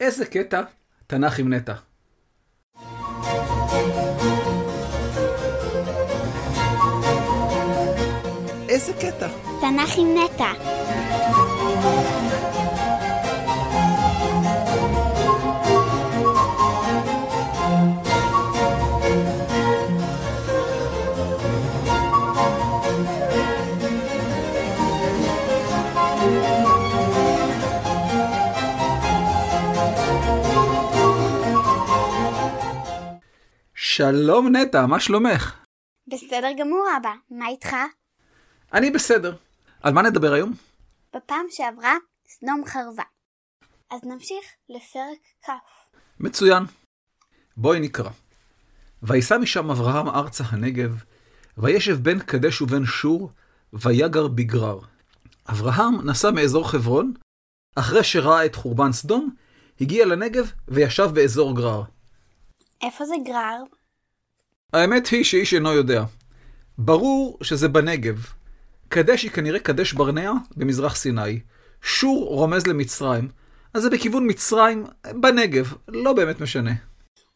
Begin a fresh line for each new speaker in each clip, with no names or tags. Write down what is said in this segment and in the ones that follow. איזה קטע תנ"ך עם נטע.
איזה קטע?
תנ"ך עם נטע.
שלום נטע, מה שלומך?
בסדר גמור, אבא. מה איתך?
אני בסדר. על מה נדבר היום?
בפעם שעברה, סדום חרבה. אז נמשיך לפרק כ'.
מצוין. בואי נקרא. ויסע משם אברהם ארצה הנגב, וישב בין קדש ובין שור, ויגר בגרר. אברהם נסע מאזור חברון, אחרי שראה את חורבן סדום, הגיע לנגב וישב באזור גרר.
איפה זה גרר?
האמת היא שאיש אינו יודע. ברור שזה בנגב. קדש היא כנראה קדש ברנע במזרח סיני. שור רומז למצרים, אז זה בכיוון מצרים, בנגב, לא באמת משנה.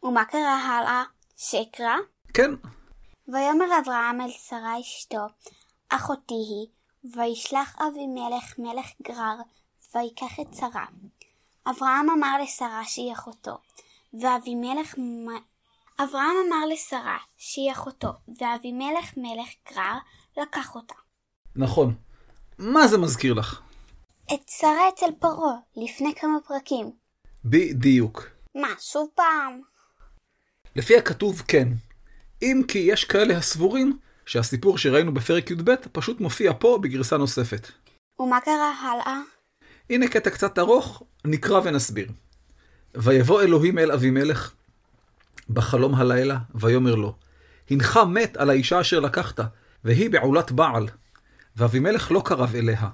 ומה קרה הלאה? שקרה?
כן,
ויאמר אברהם אל שרה אשתו, אחותי היא, וישלח אבימלך מלך גרר, ויקח את שרה. אברהם אמר לשרה שהיא אחותו, ואבימלך מ- אברהם אמר לשרה שהיא אחותו, ואבימלך מלך גרר לקח אותה.
נכון. מה זה מזכיר לך?
את שרה אצל פרעה, לפני כמה פרקים.
בדיוק.
מה, שוב פעם?
לפי הכתוב כן. אם כי יש כאלה הסבורים שהסיפור שראינו בפרק י"ב פשוט מופיע פה בגרסה נוספת.
ומה קרה הלאה?
הנה קטע קצת ארוך, נקרא ונסביר. ויבוא אלוהים אל אבימלך בחלום הלילה, ויאמר לו, הנך מת על האישה אשר לקחת, והיא בעולת בעל. ואבימלך לא קרב אליה.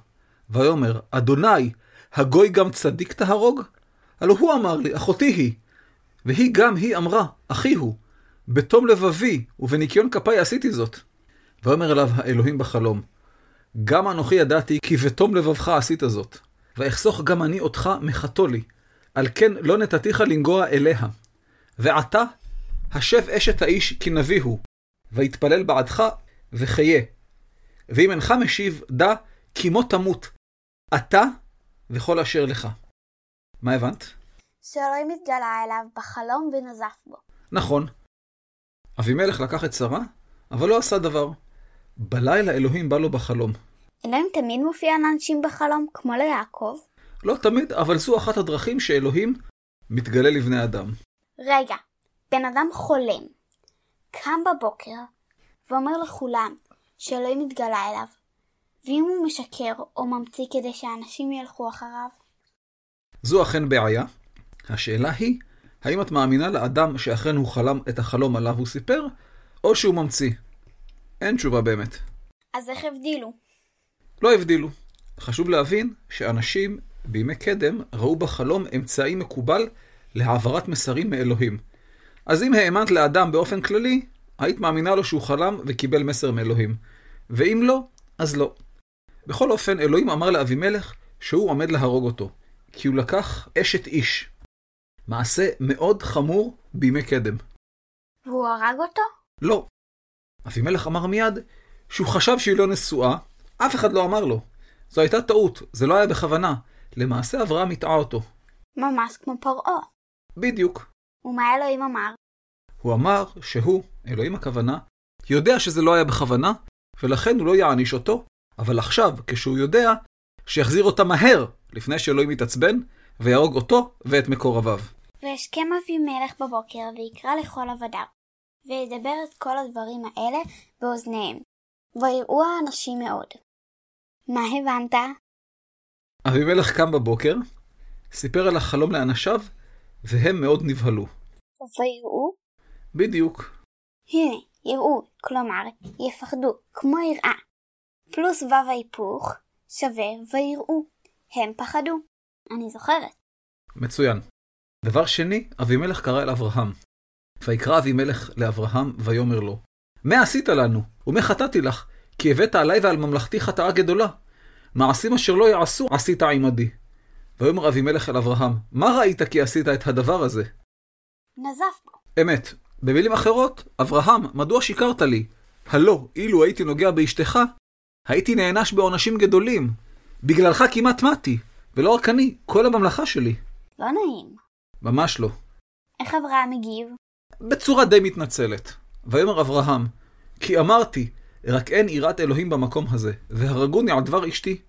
ויאמר, אדוני, הגוי גם צדיק תהרוג? הלא הוא אמר לי, אחותי היא. והיא גם היא אמרה, אחי הוא, בתום לבבי ובניקיון כפיי עשיתי זאת. ויאמר אליו האלוהים בחלום, גם אנוכי ידעתי כי בתום לבבך עשית זאת, ואחסוך גם אני אותך מחתו לי, על כן לא נתתיך לנגוע אליה. ועתה, השב אשת האיש כי נביא הוא, ויתפלל בעדך, וחיה. ואם אינך משיב, דע, כי מות תמות, אתה וכל אשר לך. מה הבנת?
שאלוהים התגלה אליו בחלום ונזף בו.
נכון. אבימלך לקח את שרה, אבל לא עשה דבר. בלילה אלוהים בא לו בחלום.
אלוהים תמיד מופיע לאנשים בחלום, כמו ליעקב?
לא תמיד, אבל זו אחת הדרכים שאלוהים מתגלה לבני אדם.
רגע, בן אדם חולם, קם בבוקר ואומר לכולם שאלוהים התגלה אליו, ואם הוא משקר או ממציא כדי שאנשים ילכו אחריו?
זו אכן בעיה. השאלה היא, האם את מאמינה לאדם שאכן הוא חלם את החלום עליו הוא סיפר, או שהוא ממציא? אין תשובה באמת.
אז איך הבדילו?
לא הבדילו. חשוב להבין שאנשים בימי קדם ראו בחלום אמצעי מקובל להעברת מסרים מאלוהים. אז אם האמנת לאדם באופן כללי, היית מאמינה לו שהוא חלם וקיבל מסר מאלוהים. ואם לא, אז לא. בכל אופן, אלוהים אמר לאבימלך שהוא עומד להרוג אותו, כי הוא לקח אשת איש. מעשה מאוד חמור בימי קדם.
והוא הרג אותו?
לא. אבימלך אמר מיד שהוא חשב שהיא לא נשואה, אף אחד לא אמר לו. זו הייתה טעות, זה לא היה בכוונה. למעשה אברהם הטעה אותו.
ממש כמו פרעה.
בדיוק.
ומה אלוהים אמר?
הוא אמר שהוא, אלוהים הכוונה, יודע שזה לא היה בכוונה, ולכן הוא לא יעניש אותו, אבל עכשיו, כשהוא יודע, שיחזיר אותה מהר, לפני שאלוהים יתעצבן, ויהרוג אותו ואת מקורביו.
וישכם אבימלך בבוקר ויקרא לכל עבדיו, וידבר את כל הדברים האלה באוזניהם, ויראו האנשים מאוד. מה הבנת?
אבימלך קם בבוקר, סיפר על החלום לאנשיו, והם מאוד נבהלו.
ויראו?
בדיוק.
הנה, יראו, כלומר, יפחדו, כמו יראה. פלוס וו ההיפוך שווה ויראו. הם פחדו. אני זוכרת.
מצוין. דבר שני, אבימלך קרא אל אברהם. ויקרא אבימלך לאברהם, ויאמר לו, מה עשית לנו? ומה חטאתי לך? כי הבאת עלי ועל ממלכתי חטאה גדולה. מעשים אשר לא יעשו עשית עמדי. ויאמר אבימלך אל אברהם, מה ראית כי עשית את הדבר הזה?
נזף בו.
אמת. במילים אחרות, אברהם, מדוע שיקרת לי? הלא, אילו הייתי נוגע באשתך, הייתי נענש בעונשים גדולים. בגללך כמעט מתי, ולא רק אני, כל הממלכה שלי.
לא נעים.
ממש לא.
איך אברהם הגיב?
בצורה די מתנצלת. ויאמר אברהם, כי אמרתי, רק אין יראת אלוהים במקום הזה, והרגוני על דבר אשתי.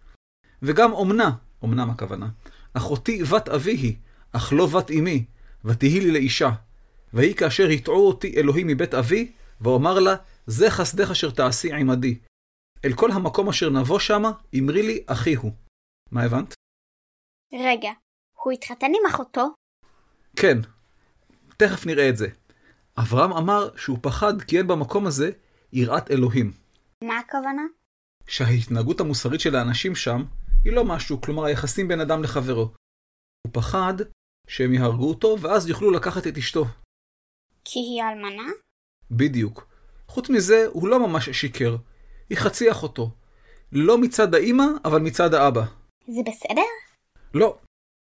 וגם אומנה, אומנם הכוונה, אחותי בת אבי היא, אך לא בת אמי, ותהי לי לאישה. ויהי כאשר הטעו אותי אלוהים מבית אבי, ואומר לה, זה חסדך אשר תעשי עמדי. אל כל המקום אשר נבוא שמה, אמרי לי אחיהו. מה הבנת?
רגע, הוא התחתן עם אחותו?
כן, תכף נראה את זה. אברהם אמר שהוא פחד כי אין במקום הזה יראת אלוהים.
מה הכוונה?
שההתנהגות המוסרית של האנשים שם היא לא משהו, כלומר היחסים בין אדם לחברו. הוא פחד שהם יהרגו אותו ואז יוכלו לקחת את אשתו.
כי היא אלמנה?
בדיוק. חוץ מזה, הוא לא ממש שיקר. היא חצי אחותו. לא מצד האימא, אבל מצד האבא.
זה בסדר?
לא.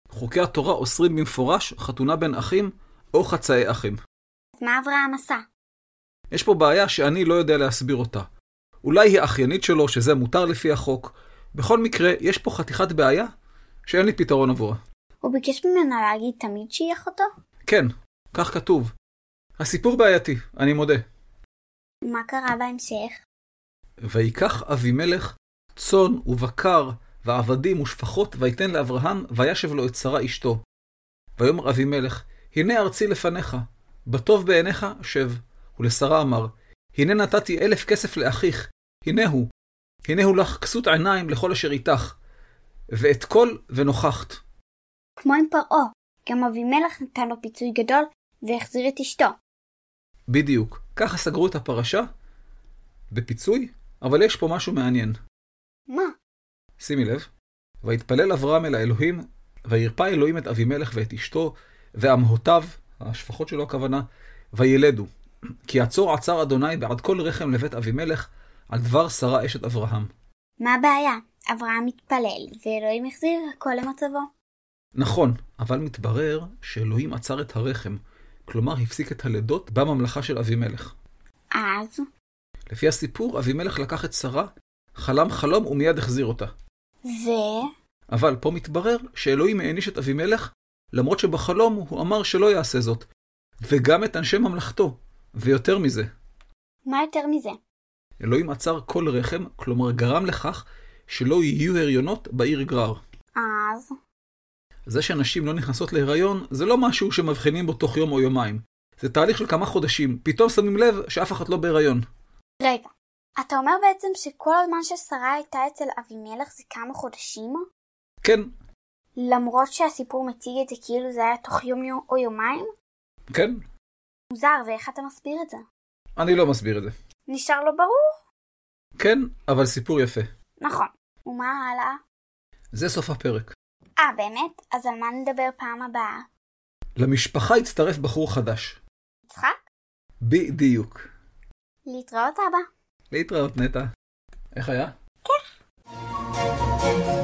חוקי התורה אוסרים במפורש חתונה בין אחים או חצאי אחים.
אז מה אברהם עשה?
יש פה בעיה שאני לא יודע להסביר אותה. אולי היא אחיינית שלו, שזה מותר לפי החוק. בכל מקרה, יש פה חתיכת בעיה שאין לי פתרון עבורה.
הוא ביקש ממנה להגיד תמיד שהיא אחותו?
כן, כך כתוב. הסיפור בעייתי, אני מודה.
מה קרה בהמשך?
ויקח אבימלך צאן ובקר ועבדים ושפחות ויתן לאברהם וישב לו את שרה אשתו. ויאמר אבימלך הנה ארצי לפניך בטוב בעיניך שב. ולשרה אמר הנה נתתי אלף כסף לאחיך הנה הוא הנה הוא לך כסות עיניים לכל אשר איתך ואת כל ונוכחת.
כמו עם פרעה, גם אבימלך נתן לו פיצוי גדול והחזיר את אשתו.
בדיוק, ככה סגרו את הפרשה בפיצוי, אבל יש פה משהו מעניין.
מה?
שימי לב. ויתפלל אברהם אל האלוהים, וירפא אלוהים את אבימלך ואת אשתו, ועמהותיו, השפחות שלו הכוונה, וילדו. כי עצור עצר אדוני בעד כל רחם לבית אבימלך, על דבר שרה אשת אברהם.
מה הבעיה? אברהם התפלל, ואלוהים החזיר הכל למצבו.
נכון, אבל מתברר שאלוהים עצר את הרחם, כלומר הפסיק את הלידות בממלכה של אבימלך.
אז?
לפי הסיפור, אבימלך לקח את שרה, חלם חלום ומיד החזיר אותה.
ו...
אבל פה מתברר שאלוהים העניש את אבימלך, למרות שבחלום הוא אמר שלא יעשה זאת, וגם את אנשי ממלכתו, ויותר מזה.
מה יותר מזה?
אלוהים עצר כל רחם, כלומר גרם לכך שלא יהיו הריונות בעיר גרר.
אז?
זה שנשים לא נכנסות להיריון, זה לא משהו שמבחינים בו תוך יום או יומיים. זה תהליך של כמה חודשים, פתאום שמים לב שאף אחת לא בהיריון.
רגע, אתה אומר בעצם שכל הזמן ששרה הייתה אצל אבימלך זה כמה חודשים?
כן,
למרות שהסיפור מציג את זה כאילו זה היה תוך יום יום או יומיים?
כן,
מוזר, ואיך אתה מסביר את זה?
אני לא מסביר את זה.
נשאר לא ברור?
כן, אבל סיפור יפה.
נכון. ומה הלאה?
זה סוף הפרק.
אה, באמת? אז על מה נדבר פעם הבאה?
למשפחה הצטרף בחור חדש.
יצחק?
בדיוק.
להתראות אבא.
להתראות נטע. איך היה?
thank you